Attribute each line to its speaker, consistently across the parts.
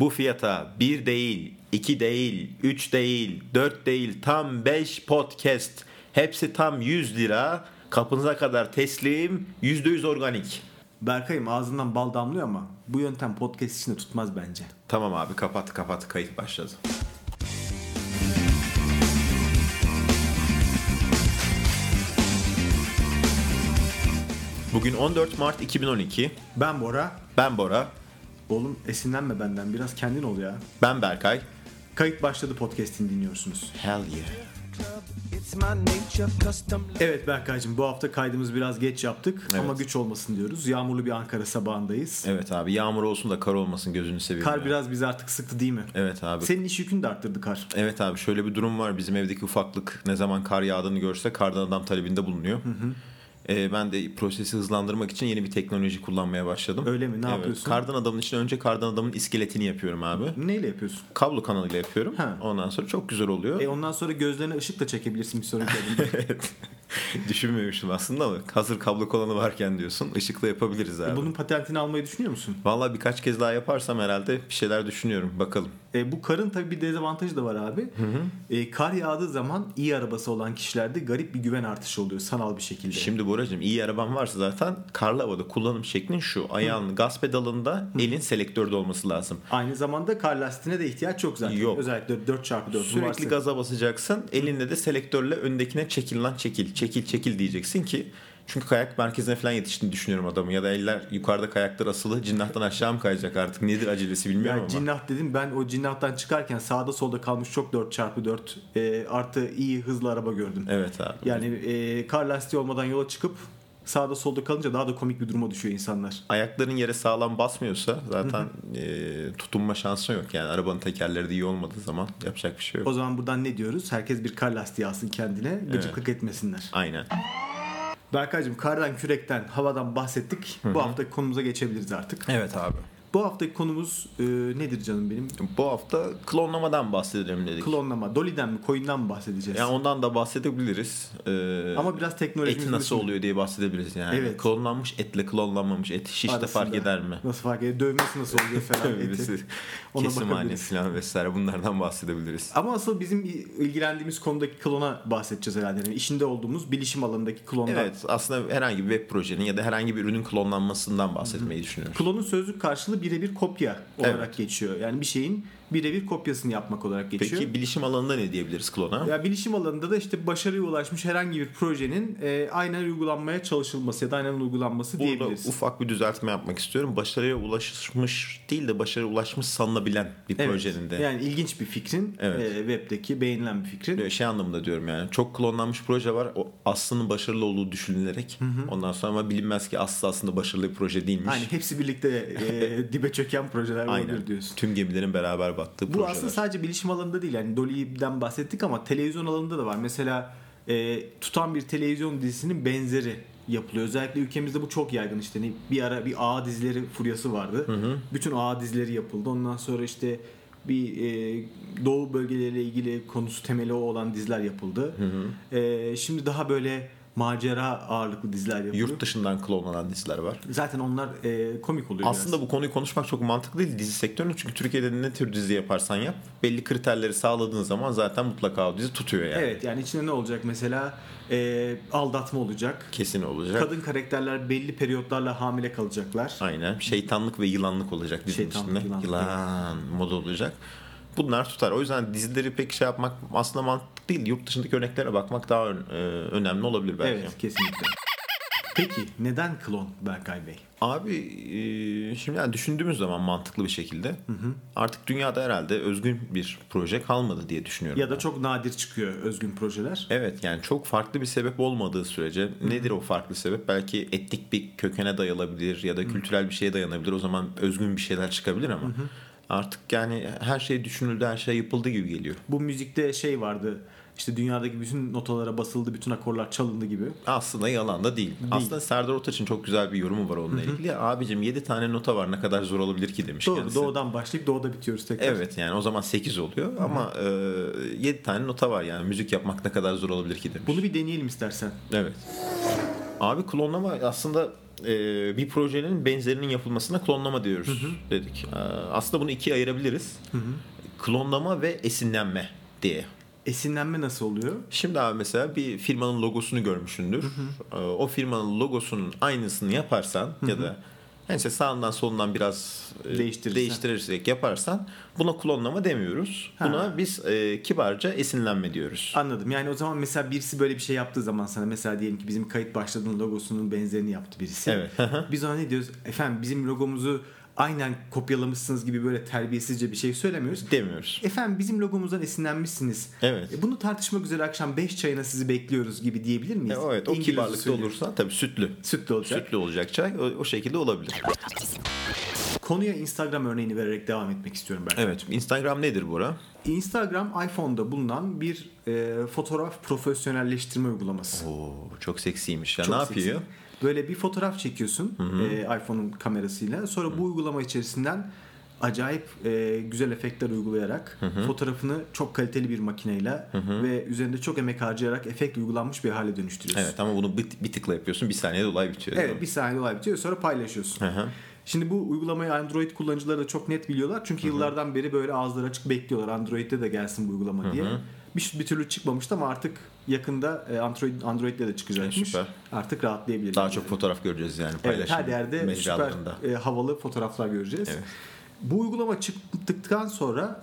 Speaker 1: Bu fiyata bir değil, iki değil, üç değil, dört değil, tam beş podcast. Hepsi tam 100 lira. Kapınıza kadar teslim, %100 organik.
Speaker 2: Berkay'ım ağzından bal damlıyor ama bu yöntem podcast içinde tutmaz bence.
Speaker 1: Tamam abi kapat kapat kayıt başladı. Bugün 14 Mart 2012.
Speaker 2: Ben Bora.
Speaker 1: Ben Bora,
Speaker 2: Oğlum esinlenme benden biraz kendin ol ya.
Speaker 1: ben Berkay.
Speaker 2: Kayıt başladı podcast'ini dinliyorsunuz.
Speaker 1: Hell yeah.
Speaker 3: It's my nature, custom
Speaker 2: Evet Berkay'cığım bu hafta kaydımız biraz geç yaptık
Speaker 1: Evet.
Speaker 2: ama güç olmasın diyoruz. Yağmurlu bir Ankara sabahındayız.
Speaker 1: Evet abi yağmur olsun da kar olmasın gözünü seveyim.
Speaker 2: Kar
Speaker 1: ya.
Speaker 2: biraz bizi artık sıktı değil mi?
Speaker 1: Evet abi.
Speaker 2: Senin iş yükünü de arttırdı kar.
Speaker 1: Evet abi şöyle bir durum var. Bizim evdeki ufaklık ne zaman kar yağdığını görse kardan adam talebinde bulunuyor. Ee, ben de prosesi hızlandırmak için yeni bir teknoloji kullanmaya başladım.
Speaker 2: Öyle mi? Ne yapıyorsun?
Speaker 1: Kardan adamın için önce kardan adamın iskeletini yapıyorum abi.
Speaker 2: Neyle yapıyorsun?
Speaker 1: Kablo kanalıyla yapıyorum.
Speaker 2: Ha.
Speaker 1: Ondan sonra çok güzel oluyor.
Speaker 2: E ondan sonra gözlerine ışık da çekebilirsin bir sonraki adımda.
Speaker 1: Evet.
Speaker 2: E-
Speaker 1: Düşünmemiştim aslında ama hazır kablo kanalı varken diyorsun ışıkla yapabiliriz abi.
Speaker 2: Bunun patentini almayı düşünüyor musun?
Speaker 1: Vallahi birkaç kez daha yaparsam herhalde bir şeyler düşünüyorum. Bakalım.
Speaker 2: E, bu karın tabii bir dezavantajı da var abi. E, kar yağdığı zaman iyi arabası olan kişilerde garip bir güven artışı oluyor sanal bir şekilde.
Speaker 1: Şimdi Boracığım iyi araban varsa zaten karlı havada kullanım şeklin şu. Ayağın gaz pedalında elin selektörde olması lazım.
Speaker 2: Aynı zamanda kar lastiğine de ihtiyaç yok zaten.
Speaker 1: Yok.
Speaker 2: Özellikle 4x4
Speaker 1: Sürekli
Speaker 2: varsa.
Speaker 1: gaza basacaksın. Elinde de selektörle öndekine çekil lan çekil. Çekil çekil diyeceksin ki. Çünkü kayak merkezine falan yetiştiğini düşünüyorum adamın. Ya da eller yukarıda kayaklar asılı. Cinnahtan aşağı mı kayacak artık? Nedir acelesi bilmiyorum
Speaker 2: Yani
Speaker 1: ama.
Speaker 2: cinnah dedim ben o cinnahtan çıkarken sağda solda kalmış çok 4x4 e, artı iyi hızlı araba gördüm.
Speaker 1: Evet abi.
Speaker 2: Yani e, kar lastiği olmadan yola çıkıp sağda solda kalınca daha da komik bir duruma düşüyor insanlar.
Speaker 1: Ayakların yere sağlam basmıyorsa zaten e, tutunma şansın yok. Yani arabanın tekerleri de iyi olmadığı zaman yapacak bir şey yok.
Speaker 2: O zaman buradan ne diyoruz? Herkes bir kar lastiği alsın kendine gıcıklık etmesinler.
Speaker 1: Aynen.
Speaker 2: Berkay'cığım kardan, kürekten, havadan bahsettik. Bu haftaki konumuza geçebiliriz artık.
Speaker 1: Evet abi.
Speaker 2: Bu haftaki konumuz e, nedir canım benim?
Speaker 1: Bu hafta klonlamadan bahsedelim dedik.
Speaker 2: Klonlama. Dolly'den mi, coin'den mi bahsedeceğiz?
Speaker 1: Yani ondan da bahsedebiliriz. Ee,
Speaker 2: Ama biraz teknolojimiz
Speaker 1: eti nasıl
Speaker 2: dışında-
Speaker 1: oluyor diye bahsedebiliriz yani.
Speaker 2: Evet.
Speaker 1: Klonlanmış etle klonlanmamış et şişte
Speaker 2: Arasında.
Speaker 1: fark eder mi?
Speaker 2: Nasıl fark eder? Dövmesi nasıl oluyor falan. eti.
Speaker 1: Birisi
Speaker 2: Ona
Speaker 1: kesim hali
Speaker 2: bakabiliriz.
Speaker 1: falan vesaire bunlardan bahsedebiliriz.
Speaker 2: Ama asıl bizim ilgilendiğimiz konudaki klona bahsedeceğiz herhalde. Yani işinde olduğumuz bilişim alanındaki klondan.
Speaker 1: Evet aslında herhangi bir web projenin ya da herhangi bir ürünün klonlanmasından bahsetmeyi düşünüyoruz.
Speaker 2: Klonun sözlük karşılığı birebir kopya olarak
Speaker 1: Evet.
Speaker 2: geçiyor. Yani bir şeyin birebir kopyasını yapmak olarak geçiyor.
Speaker 1: Peki bilişim alanında ne diyebiliriz klona?
Speaker 2: Ya bilişim alanında da işte başarıya ulaşmış herhangi bir projenin e, aynen uygulanmaya çalışılması ya da aynen uygulanması
Speaker 1: Burada
Speaker 2: diyebiliriz.
Speaker 1: ufak bir düzeltme yapmak istiyorum. Başarıya ulaşmış değil de başarıya ulaşmış sanılabilen bir
Speaker 2: Evet.
Speaker 1: projenin de.
Speaker 2: Yani ilginç bir fikrin.
Speaker 1: Evet.
Speaker 2: e, web'deki beğenilen bir fikrin.
Speaker 1: Böyle şey anlamında diyorum yani çok klonlanmış proje var o aslının başarılı olduğu düşünülerek ondan sonra ama bilinmez ki aslı aslında başarılı bir proje değilmiş.
Speaker 2: Yani hepsi birlikte e, dibe çöken projeler
Speaker 1: Aynen.
Speaker 2: olabilir diyorsun.
Speaker 1: Tüm gemilerin beraber battığı
Speaker 2: Bu
Speaker 1: projeler.
Speaker 2: aslında sadece bilişim alanında değil. Yani Dolly'den bahsettik ama televizyon alanında da var. Mesela e, tutan bir televizyon dizisinin benzeri yapılıyor. Özellikle ülkemizde bu çok yaygın işte. Hani bir ara bir A dizileri furyası vardı. Bütün A dizileri yapıldı. Ondan sonra işte bir e, doğu bölgeleriyle ilgili konusu temeli o olan diziler yapıldı. E, şimdi daha böyle macera ağırlıklı diziler yapılıyor.
Speaker 1: Yurt dışından klonlanan diziler var.
Speaker 2: Zaten onlar e, komik oluyor. biraz.
Speaker 1: Aslında bu konuyu konuşmak çok mantıklı değil dizi sektöründe çünkü Türkiye'de ne tür dizi yaparsan yap belli kriterleri sağladığın zaman zaten mutlaka o dizi tutuyor yani.
Speaker 2: Evet yani içinde ne olacak mesela e, aldatma olacak.
Speaker 1: Kesin olacak.
Speaker 2: Kadın karakterler belli periyotlarla hamile kalacaklar.
Speaker 1: Aynen. Şeytanlık ve yılanlık olacak dizinin
Speaker 2: Şeytanlık,
Speaker 1: içinde.
Speaker 2: yılanlık,
Speaker 1: Yılan moda olacak. Bunlar tutar. O yüzden dizileri pek şey yapmak aslında mantıklı değil. Yurt dışındaki örneklere bakmak daha ön- e, önemli olabilir belki.
Speaker 2: Evet kesinlikle. Peki neden klon Berkay Bey?
Speaker 1: Abi e, şimdi yani düşündüğümüz zaman mantıklı bir şekilde artık dünyada herhalde özgün bir proje kalmadı diye düşünüyorum.
Speaker 2: Ya da çok nadir çıkıyor özgün projeler.
Speaker 1: Evet yani çok farklı bir sebep olmadığı sürece nedir o farklı sebep? Belki etnik bir kökene dayalabilir ya da kültürel bir şeye dayanabilir. O zaman özgün bir şeyler çıkabilir ama artık yani her şey düşünüldü, her şey yapıldı gibi geliyor.
Speaker 2: Bu müzikte şey vardı. İşte dünyadaki bütün notalara basıldı, bütün akorlar çalındı gibi.
Speaker 1: Aslında yalan da değil. Aslında Serdar Ortaç'ın çok güzel bir yorumu var onunla ilgili. Abicim 7 tane nota var ne kadar zor olabilir ki demiş
Speaker 2: Doğru,
Speaker 1: kendisi.
Speaker 2: doğudan başlayıp doğuda bitiyoruz tekrar.
Speaker 1: Evet yani o zaman 8 oluyor ama 7 tane nota var yani müzik yapmak ne kadar zor olabilir ki demiş.
Speaker 2: Bunu bir deneyelim istersen.
Speaker 1: Evet. Abi klonlama aslında e, bir projenin benzerinin yapılmasına klonlama diyoruz dedik. E, aslında bunu ikiye ayırabiliriz. Klonlama ve esinlenme diye.
Speaker 2: Esinlenme nasıl oluyor?
Speaker 1: Şimdi abi mesela bir firmanın logosunu görmüşsündür. E, O firmanın logosunun aynısını yaparsan ya da neyse sağından solundan biraz e,
Speaker 2: Değiştirirsen.
Speaker 1: değiştirirsek yaparsan buna klonlama demiyoruz.
Speaker 2: Ha.
Speaker 1: Buna biz e, kibarca esinlenme diyoruz.
Speaker 2: Anladım. Yani o zaman mesela birisi böyle bir şey yaptığı zaman sana mesela diyelim ki bizim kayıt başladığın logosunun benzerini yaptı birisi.
Speaker 1: Evet.
Speaker 2: Biz ona ne diyoruz? Efendim bizim logomuzu aynen kopyalamışsınız gibi böyle terbiyesizce bir şey söylemiyoruz.
Speaker 1: Demiyoruz.
Speaker 2: Efendim bizim logomuzdan esinlenmişsiniz.
Speaker 1: Evet.
Speaker 2: E, Bunu tartışmak üzere akşam 5 çayına sizi bekliyoruz gibi diyebilir
Speaker 1: E,
Speaker 2: miyiz?
Speaker 1: Evet o
Speaker 2: İngilizce
Speaker 1: kibarlıkta
Speaker 2: söylüyorum.
Speaker 1: olursa tabii sütlü.
Speaker 2: Sütlü olacak.
Speaker 1: Sütlü olacak çay o, o şekilde olabilir.
Speaker 2: Konuya Instagram örneğini vererek devam etmek istiyorum ben.
Speaker 1: Evet Instagram nedir Bora?
Speaker 2: Instagram iPhone'da bulunan bir e, fotoğraf profesyonelleştirme uygulaması.
Speaker 1: Oo çok seksiymiş ya
Speaker 2: Çok
Speaker 1: E, ne
Speaker 2: seksi.
Speaker 1: yapıyor?
Speaker 2: Böyle bir fotoğraf çekiyorsun e, iPhone'un kamerasıyla. Sonra bu uygulama içerisinden acayip e, güzel efektler uygulayarak fotoğrafını çok kaliteli bir makineyle ve üzerinde çok emek harcayarak efekt uygulanmış bir hale dönüştürüyorsun.
Speaker 1: Evet ama bunu bir, bir tıkla yapıyorsun bir saniyede olay bitiyor. değil
Speaker 2: Evet,
Speaker 1: mi?
Speaker 2: bir saniye olay bitiyor sonra paylaşıyorsun.
Speaker 1: Hı hı.
Speaker 2: Şimdi bu uygulamayı Android kullanıcıları da çok net biliyorlar. Çünkü yıllardan beri böyle ağızları açık bekliyorlar Android'de de gelsin bu uygulama diye. Bir, bir türlü çıkmamıştı ama artık yakında e, Android Android'de de çıkacakmış.
Speaker 1: E, süper.
Speaker 2: Artık rahatlayabiliriz.
Speaker 1: Daha çok fotoğraf göreceğiz yani
Speaker 2: Evet,
Speaker 1: paylaşım
Speaker 2: her yerde süper
Speaker 1: mecralarında.
Speaker 2: e, havalı fotoğraflar göreceğiz.
Speaker 1: Evet.
Speaker 2: Bu uygulama çıktıktan sonra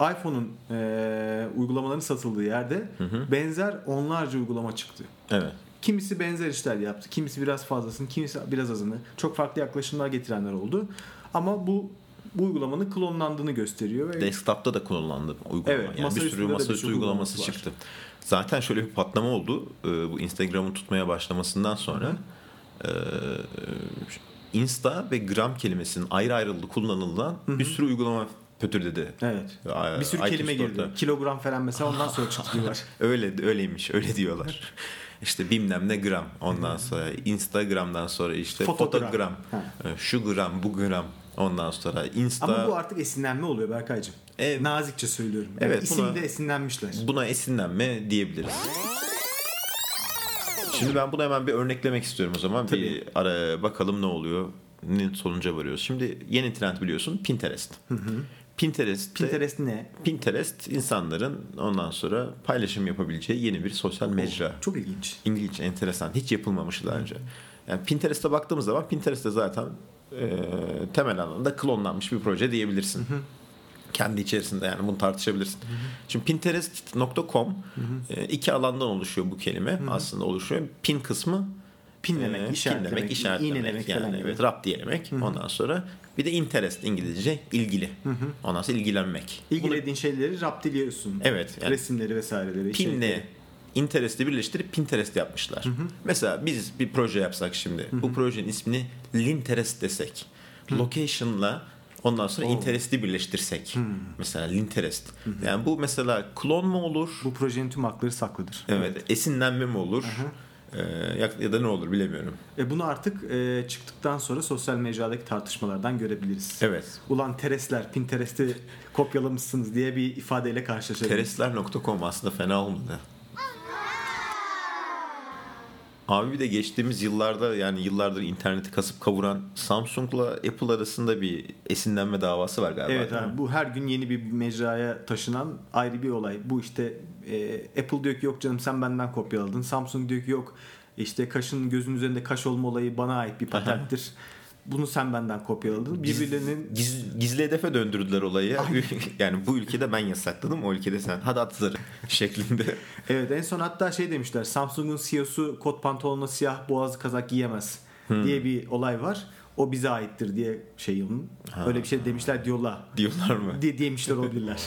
Speaker 2: e, iPhone'un e, uygulamaların satıldığı yerde benzer onlarca uygulama çıktı.
Speaker 1: Evet.
Speaker 2: Kimisi benzer işler yaptı, kimisi biraz fazlasını, kimisi biraz azını. Çok farklı yaklaşımlar getirenler oldu. Ama bu bu uygulamanın klonlandığını gösteriyor ve
Speaker 1: Desktop'ta da kullanıldı uygulama.
Speaker 2: Evet,
Speaker 1: yani bir
Speaker 2: masaüstünde
Speaker 1: sürü
Speaker 2: de
Speaker 1: masaüstü
Speaker 2: birçok
Speaker 1: uygulaması
Speaker 2: uygulaması var.
Speaker 1: çıktı. Zaten şöyle bir patlama oldu. Ee, Bu Instagram'ın tutmaya başlamasından sonra Ee, Insta ve Gram kelimesinin ayrı ayrı kullanılan bir sürü uygulama pötürdedi.
Speaker 2: evet.
Speaker 1: Ee,
Speaker 2: Bir sürü
Speaker 1: iTunes
Speaker 2: kelime girdi.
Speaker 1: Store'da.
Speaker 2: Kilogram falan mesela ondan sonra çıktı diyorlar.
Speaker 1: Öyle öyleymiş, öyle diyorlar. İşte bilmem ne gram. Ondan sonra Instagram'dan sonra işte
Speaker 2: Fotogram.
Speaker 1: fotogram.
Speaker 2: Ha.
Speaker 1: Ee, Şu gram, bu gram. Ondan sonra Insta.
Speaker 2: Ama bu artık esinlenme oluyor Berkaycığım.
Speaker 1: Evet.
Speaker 2: Nazikçe söylüyorum.
Speaker 1: Evet,
Speaker 2: Evet,
Speaker 1: buna-
Speaker 2: İsimde esinlenmişler.
Speaker 1: Buna esinlenme diyebiliriz. Şimdi ben bunu hemen bir örneklemek istiyorum o zaman. Bir
Speaker 2: Tabii.
Speaker 1: ara bakalım ne oluyor. Ne sonuca varıyoruz. Şimdi yeni trend biliyorsun Pinterest. Pinterest
Speaker 2: Pinterest ne?
Speaker 1: Pinterest insanların ondan sonra paylaşım yapabileceği yeni bir sosyal mecra.
Speaker 2: Çok ilginç.
Speaker 1: İngilizce enteresan. Hiç yapılmamıştı daha önce. Yani Pinterest'e baktığımız zaman Pinterest'te zaten e, temel anlamda klonlanmış bir proje diyebilirsin. Kendi içerisinde yani bunu tartışabilirsin. Şimdi Pinterest.com e, iki alandan oluşuyor bu kelime aslında oluşuyor. Pin kısmı
Speaker 2: Pinlemek,
Speaker 1: e,
Speaker 2: işaretlemek,
Speaker 1: pinlemek, işaretlemek,
Speaker 2: iğnelemek
Speaker 1: yani
Speaker 2: falan gibi.
Speaker 1: evet rap diyelemek. Ondan sonra bir de interest İngilizce ilgili. Ondan sonra ilgilenmek.
Speaker 2: İlgilediğin şeyleri raptiliyorsun.
Speaker 1: Evet, yani-
Speaker 2: Resimleri vesaireleri. şey,
Speaker 1: Pinle
Speaker 2: içerikleri.
Speaker 1: Interest'i birleştirip Pinterest yapmışlar. Mesela biz bir proje yapsak şimdi. Bu projenin ismini Linterest desek. Location'la ondan sonra Interest'i birleştirsek. Mesela Linterest. Yani bu mesela klon mu olur?
Speaker 2: Bu projenin tüm hakları saklıdır.
Speaker 1: Evet. Esinlenme mi olur? Ee, ya- ya da ne olur bilemiyorum.
Speaker 2: E bunu artık e, çıktıktan sonra sosyal mecradaki tartışmalardan görebiliriz.
Speaker 1: Evet.
Speaker 2: Ulan teresler Pinterest'i kopyalamışsınız diye bir ifadeyle karşılaşabiliriz.
Speaker 1: Terestler.com aslında fena olmadı. Abi bir de geçtiğimiz yıllarda yani yıllardır interneti kasıp kavuran Samsung'la Apple arasında bir esinlenme davası var galiba.
Speaker 2: Evet
Speaker 1: değil mi?
Speaker 2: abi bu her gün yeni bir mecraya taşınan ayrı bir olay. Bu işte e, Apple diyor ki yok canım sen benden kopyaladın. Samsung diyor ki yok işte kaşın gözün üzerinde kaş olma olayı bana ait bir patenttir. Bunu sen benden kopyaladın.
Speaker 1: Giz-
Speaker 2: Birbirlerinin
Speaker 1: giz- gizli hedefe döndürdüler olayı. yani bu ülkede ben yasakladım, o ülkede sen. Hadi at zarı şeklinde.
Speaker 2: Evet en son hatta şey demişler Samsung'un CEO'su kot pantolonla siyah boğazlı kazak giyemez
Speaker 1: Hmm.
Speaker 2: diye bir olay var. O bize aittir diye şey yılın. Öyle bir şey demişler diyorlar.
Speaker 1: Diyorlar mı?
Speaker 2: Diye diyemişler olabilirler.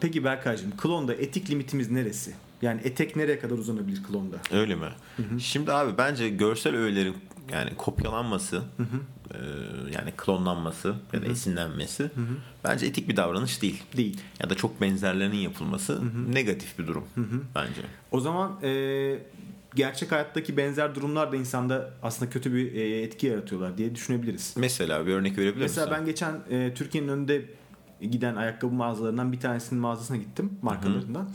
Speaker 2: Peki Berkaycığım klonda etik limitimiz neresi? Yani etek nereye kadar uzanabilir klonda?
Speaker 1: Öyle mi? Şimdi abi bence görsel öğelerin yani kopyalanması, e, yani klonlanması ya da esinlenmesi bence etik bir davranış değil.
Speaker 2: Değil.
Speaker 1: Ya da çok benzerlerinin yapılması negatif bir durum bence.
Speaker 2: O zaman e, gerçek hayattaki benzer durumlar da insanda aslında kötü bir e, etki yaratıyorlar diye düşünebiliriz.
Speaker 1: Mesela bir örnek verebilir
Speaker 2: Mesela
Speaker 1: misin?
Speaker 2: ben geçen e, Türkiye'nin önünde giden ayakkabı mağazalarından bir tanesinin mağazasına gittim markalarından.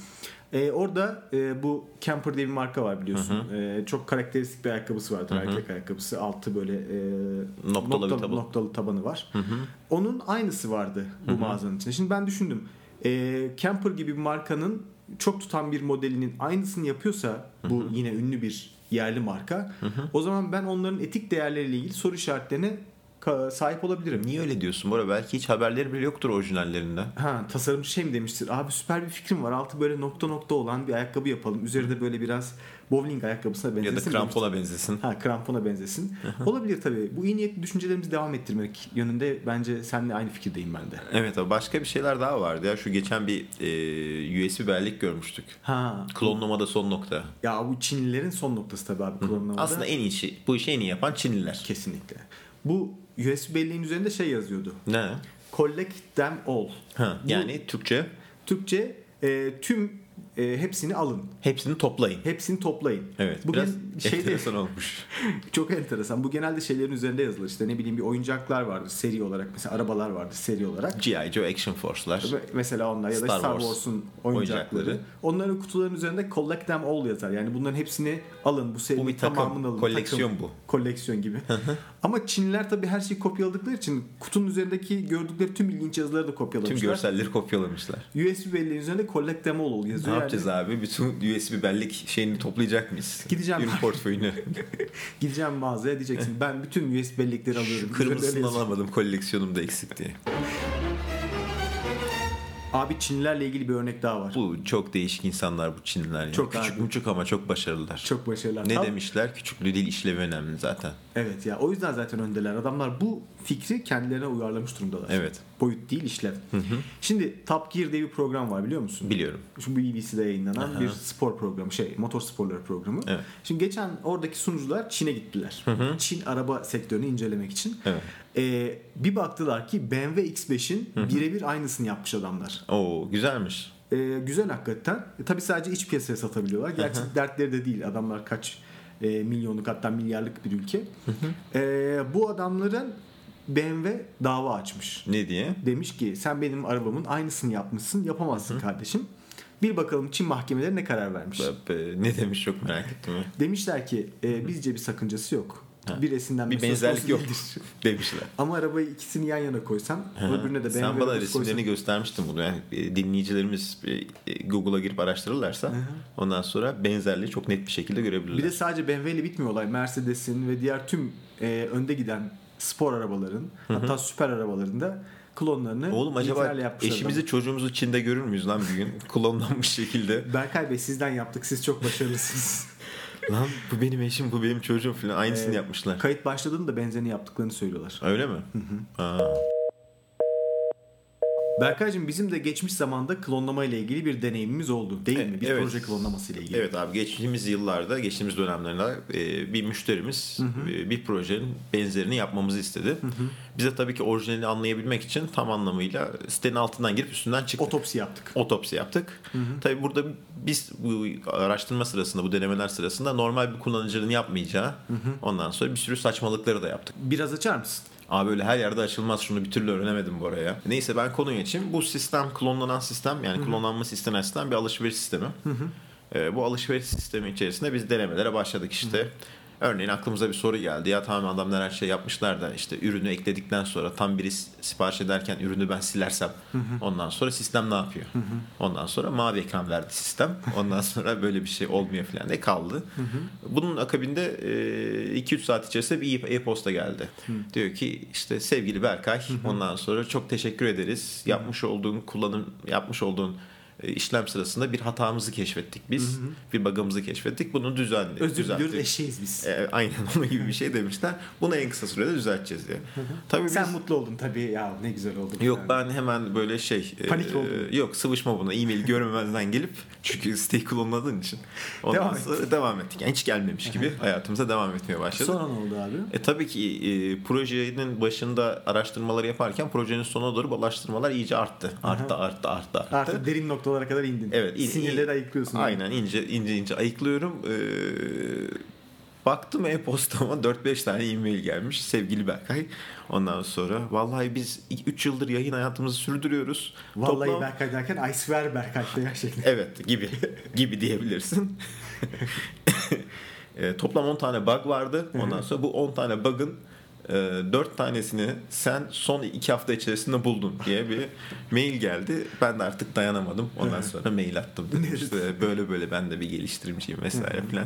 Speaker 2: E, orada e, bu Camper diye bir marka var biliyorsun. E, çok karakteristik bir ayakkabısı vardır. Erkek ayakkabısı. Altı böyle e,
Speaker 1: Noktalı bir taban.
Speaker 2: noktalı tabanı var. Onun aynısı vardı bu mağazanın içinde. Şimdi ben düşündüm. E, Camper gibi bir markanın çok tutan bir modelinin aynısını yapıyorsa bu yine ünlü bir yerli marka. O zaman ben onların etik değerleriyle ilgili soru işaretlerine ka- sahip olabilirim.
Speaker 1: Niye öyle diyorsun Bora? Belki hiç haberleri bile yoktur orijinallerinde.
Speaker 2: Ha tasarımcı şey mi demiştir? Abi süper bir fikrim var. Altı böyle nokta nokta olan bir ayakkabı yapalım. Üzeri de böyle biraz bowling ayakkabısına benzesin.
Speaker 1: Ya da
Speaker 2: demiştir.
Speaker 1: krampona benzesin.
Speaker 2: Ha krampona benzesin. Olabilir tabii. Bu iyi niyetli düşüncelerimizi devam ettirmek yönünde bence seninle aynı fikirdeyim ben de.
Speaker 1: Evet abi başka bir şeyler daha vardı ya. Şu geçen bir e, USB bellek görmüştük.
Speaker 2: Ha.
Speaker 1: Klonlamada son nokta.
Speaker 2: Ya bu Çinlilerin son noktası tabii abi klonlamada.
Speaker 1: Aslında en iyi şey, bu işi en iyi yapan Çinliler.
Speaker 2: kesinlikle. Bu USB belleğin üzerinde şey yazıyordu.
Speaker 1: Ne?
Speaker 2: Collect them all.
Speaker 1: Ha,
Speaker 2: Bu-
Speaker 1: yani Türkçe
Speaker 2: Türkçe e, tüm e, hepsini alın.
Speaker 1: hepsini toplayın.
Speaker 2: Hepsini toplayın.
Speaker 1: Evet.
Speaker 2: Bugün
Speaker 1: biraz
Speaker 2: şeyde
Speaker 1: enteresan olmuş.
Speaker 2: Çok enteresan. Bu genelde şeylerin üzerinde yazılır. İşte ne bileyim bir oyuncaklar vardır seri olarak. Mesela arabalar vardır seri olarak.
Speaker 1: G.I. Joe Action Force'lar.
Speaker 2: Ve- Mesela onlar ya da
Speaker 1: Star
Speaker 2: Star,
Speaker 1: Wars
Speaker 2: Wars'un oyuncakları.
Speaker 1: oyuncakları.
Speaker 2: Onların kutuların üzerinde Collect Them All yazar. Yani bunların hepsini alın. Bu serinin
Speaker 1: Bu bir takım,
Speaker 2: tamamını alın.
Speaker 1: koleksiyon
Speaker 2: Takım,
Speaker 1: bu.
Speaker 2: Koleksiyon gibi. Ama Çinliler tabii her şeyi kopyaladıkları için kutunun üzerindeki gördükleri tüm ilginç yazıları da
Speaker 1: Tüm
Speaker 2: kopyalamışlar.
Speaker 1: görselleri kopyalamışlar.
Speaker 2: USB belleğin üzerinde Collect Them All yazıyor.
Speaker 1: Ne
Speaker 2: yani.
Speaker 1: yapacağız abi? Bütün USB bellek şeyini toplayacak mıyız?
Speaker 2: Gideceğim.
Speaker 1: Ürün portföyünü.
Speaker 2: Gideceğim mağazaya diyeceksin. Ben bütün USB bellekleri alıyorum.
Speaker 1: Şu kırmızısını
Speaker 2: Üzerinde yazıyor.
Speaker 1: alamadım koleksiyonumda eksik diye.
Speaker 2: Abi Çinlilerle ilgili bir örnek daha var.
Speaker 1: Bu çok değişik insanlar bu Çinliler. Yani.
Speaker 2: Çok
Speaker 1: küçük
Speaker 2: abi.
Speaker 1: muçuk ama çok başarılılar.
Speaker 2: Çok başarılar.
Speaker 1: Ne
Speaker 2: Tam-
Speaker 1: demişler? Küçüklüğü değil işlevi önemli zaten.
Speaker 2: Evet ya o yüzden zaten öndeler. Adamlar bu fikri kendilerine uyarlamış durumdalar.
Speaker 1: Evet.
Speaker 2: Boyut değil işlev. Şimdi Top Gear diye bir program var biliyor musun?
Speaker 1: Biliyorum.
Speaker 2: Şu BBC'de yayınlanan bir spor programı şey motor sporları programı.
Speaker 1: Evet.
Speaker 2: Şimdi geçen oradaki sunucular Çin'e gittiler. Çin araba sektörünü incelemek için.
Speaker 1: Evet.
Speaker 2: Ee, bir baktılar ki BMW X5'in birebir aynısını yapmış adamlar.
Speaker 1: Oo güzelmiş.
Speaker 2: Ee, güzel hakikaten. E, tabii sadece iç piyasaya satabiliyorlar. Gerçi dertleri de değil. Adamlar kaç e, milyonluk hatta milyarlık bir ülke. E, bu adamların BMW dava açmış.
Speaker 1: Ne diye?
Speaker 2: Demiş ki sen benim arabamın aynısını yapmışsın yapamazsın kardeşim. Bir bakalım Çin mahkemeleri ne karar vermiş.
Speaker 1: Ee, Ne demiş çok merak ettim. ya.
Speaker 2: Demişler ki "E, bizce bir sakıncası yok. Bir esinden
Speaker 1: Bir
Speaker 2: söz konusu
Speaker 1: benzerlik yok
Speaker 2: değildir.
Speaker 1: demişler.
Speaker 2: Ama arabayı ikisini yan yana koysam öbürüne de BMW
Speaker 1: Sen bana
Speaker 2: logosu koysam-
Speaker 1: resimlerini göstermiştin bunu. Yani e, dinleyicilerimiz e, e, Google'a girip araştırırlarsa ondan sonra benzerliği çok net bir şekilde görebilirler.
Speaker 2: Bir de sadece BMW ile bitmiyor olay. Mercedes'in ve diğer tüm e, önde giden spor arabaların hatta süper arabaların da klonlarını
Speaker 1: Oğlum acaba
Speaker 2: İngiltere'yle yapmışlar.
Speaker 1: eşimizi çocuğumuzu Çin'de görür müyüz lan bir gün? Klonlanmış şekilde.
Speaker 2: Berkay Bey sizden yaptık. Siz çok başarılısınız.
Speaker 1: lan bu benim eşim bu benim çocuğum falan aynısını
Speaker 2: Ee,
Speaker 1: yapmışlar.
Speaker 2: Kayıt başladığında benzerini yaptıklarını söylüyorlar.
Speaker 1: Öyle mi? Aa,
Speaker 2: Berkaycığım bizim de geçmiş zamanda klonlama ile ilgili bir deneyimimiz oldu. Değil mi? Bir
Speaker 1: E, Evet.
Speaker 2: proje klonlaması ile ilgili.
Speaker 1: evet abi geçtiğimiz yıllarda geçtiğimiz dönemlerde e, bir müşterimiz e, bir projenin benzerini yapmamızı istedi. Bize tabii ki orijinalini anlayabilmek için tam anlamıyla sitenin altından girip üstünden çıktık.
Speaker 2: Otopsi yaptık.
Speaker 1: otopsi yaptık. Tabii burada biz bu araştırma sırasında, bu denemeler sırasında normal bir kullanıcının yapmayacağı ondan sonra bir sürü saçmalıkları da yaptık.
Speaker 2: Biraz açar mısın?
Speaker 1: Abi böyle her yerde açılmaz şunu bir türlü öğrenemedim bu araya. Neyse ben konuya geçeyim. Bu sistem klonlanan sistem yani klonlanması istenen sistem bir alışveriş sistemi. Ee, bu alışveriş sistemi içerisinde biz denemelere başladık işte. Örneğin aklımıza bir soru geldi. Ya tamam adamlar her şey yapmışlar da işte ürünü ekledikten sonra tam biri s- sipariş ederken ürünü ben silersem ondan sonra sistem ne yapıyor? Ondan sonra mavi ekran verdi sistem. Ondan sonra böyle bir şey olmuyor falan diye kaldı. Bunun akabinde e, 2-3 saat içerisinde bir e- e-posta geldi.
Speaker 2: Hmm.
Speaker 1: Diyor ki işte sevgili Berkay ondan sonra çok teşekkür ederiz. Yapmış olduğun kullanım yapmış olduğun e, işlem sırasında bir hatamızı keşfettik biz. Bir bug'ımızı keşfettik. Bunu düzenle.
Speaker 2: Özür
Speaker 1: düzelttik.
Speaker 2: diliyoruz eşeğiz biz.
Speaker 1: E, aynen onun gibi bir şey demişler. Bunu en kısa sürede düzelteceğiz diye. Tabii
Speaker 2: Sen
Speaker 1: biz-
Speaker 2: mutlu oldun tabii ya ne güzel oldu.
Speaker 1: Yok
Speaker 2: Yani.
Speaker 1: ben hemen böyle şey
Speaker 2: Panik oldun.
Speaker 1: Yok sıvışma buna e-mail görmemezden gelip çünkü siteyi kullanmadığın için. Ondan
Speaker 2: Devam
Speaker 1: sonra devam ettik. Yani hiç gelmemiş gibi hayatımıza devam etmeye başladık.
Speaker 2: Sonra ne oldu abi?
Speaker 1: E tabii ki e, projenin başında araştırmaları yaparken projenin sonuna doğru bu araştırmalar iyice arttı. Arttı, arttı, arttı, arttı.
Speaker 2: Artık derin noktalara kadar indin.
Speaker 1: Evet, in-
Speaker 2: Sinirleri
Speaker 1: in-
Speaker 2: ayıklıyorsun.
Speaker 1: Aynen ince ince ince ayıklıyorum. Ee, Baktım e-postama 4-5 tane e-mail gelmiş sevgili Berkay. Ondan sonra vallahi biz 3 yıldır yayın hayatımızı sürdürüyoruz.
Speaker 2: Vallahi
Speaker 1: Toplam-
Speaker 2: Berkay derken I swear Berkay'da
Speaker 1: şey.
Speaker 2: gerçekten.
Speaker 1: Evet gibi gibi diyebilirsin. E, toplam 10 tane bug vardı. Ondan sonra bu 10 tane bug'ın 4 tanesini sen son 2 hafta içerisinde buldun diye bir mail geldi. Ben de artık dayanamadım. Ondan sonra mail attım. Dedim işte böyle böyle ben de bir geliştirimciyim vesaire filan.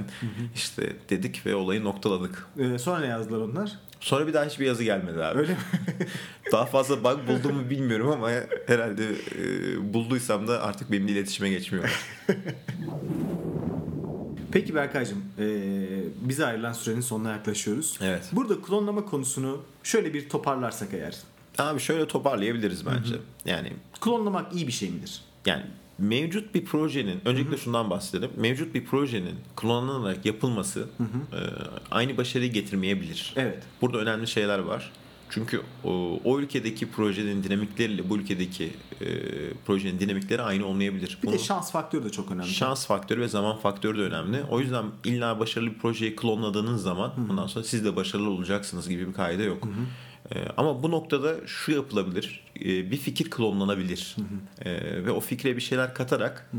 Speaker 1: İşte dedik ve olayı noktaladık.
Speaker 2: Ee, sonra ne yazdılar onlar?
Speaker 1: Sonra bir daha hiçbir yazı gelmedi abi.
Speaker 2: Öyle mi?
Speaker 1: Daha fazla bug buldum mu bilmiyorum ama herhalde e, bulduysam da artık benimle iletişime geçmiyor.
Speaker 2: Peki Berkay'cığım ee, bize ayrılan sürenin sonuna yaklaşıyoruz.
Speaker 1: Evet.
Speaker 2: Burada klonlama konusunu şöyle bir toparlarsak eğer.
Speaker 1: Abi şöyle toparlayabiliriz bence. Yani
Speaker 2: Klonlamak iyi bir şey midir?
Speaker 1: yani mevcut bir projenin öncelikle şundan bahsedelim. Mevcut bir projenin klonlanarak yapılması e, aynı başarıyı getirmeyebilir.
Speaker 2: Evet.
Speaker 1: Burada önemli şeyler var. Çünkü o, o ülkedeki projenin dinamikleriyle bu ülkedeki e, projenin dinamikleri aynı olmayabilir.
Speaker 2: Bir
Speaker 1: Bunu-
Speaker 2: de şans faktörü de çok önemli.
Speaker 1: Şans faktörü ve zaman faktörü de önemli. O yüzden illa başarılı bir projeyi klonladığınız zaman ondan sonra siz de başarılı olacaksınız gibi bir kaide yok. Ee, ama bu noktada şu yapılabilir. Ee, bir fikir klonlanabilir. Ee, ve o fikre bir şeyler katarak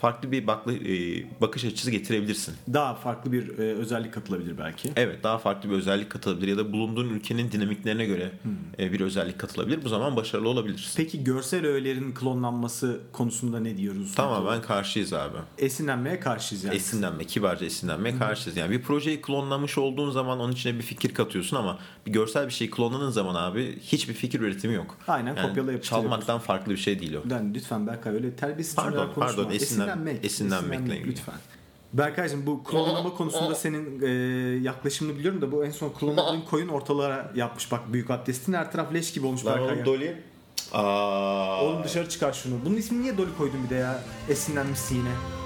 Speaker 1: farklı bir bakla, e, bakış açısı getirebilirsin.
Speaker 2: Daha farklı bir ee, özellik katılabilir belki.
Speaker 1: Evet daha farklı bir özellik katılabilir ya da bulunduğun ülkenin dinamiklerine göre e, bir özellik katılabilir. Bu zaman başarılı olabilirsin.
Speaker 2: Peki görsel öğelerin klonlanması konusunda ne diyoruz?
Speaker 1: Tamamen karşıyız abi.
Speaker 2: Esinlenmeye karşıyız yani.
Speaker 1: Esinlenme, kibarca esinlenme karşıyız. Yani bir projeyi klonlamış olduğun zaman onun içine bir fikir katıyorsun ama bir görsel bir şey klonladığın zaman abi hiçbir fikir üretimi yok.
Speaker 2: Aynen,
Speaker 1: yani
Speaker 2: kopyala yapıştır
Speaker 1: Çalmaktan farklı bir şey değil o.
Speaker 2: Yani lütfen Berkay öyle terbiyesiz
Speaker 1: Pardon,
Speaker 2: cümleler konuşma.
Speaker 1: pardon, esinlen-
Speaker 2: esinlenmek.
Speaker 1: esinlenmekle ilgili.
Speaker 2: Lütfen. Berkaycığım bu klonlama konusunda senin e, yaklaşımını biliyorum da bu en son klonladığın koyun ortalara yapmış. Bak büyük abdestin her taraf leş gibi olmuş Berkay. ya.
Speaker 1: Dolly. Aa.
Speaker 2: Oğlum dışarı çıkar şunu. Bunun ismini niye Dolly koydun bir de ya? Esinlenmişsin yine.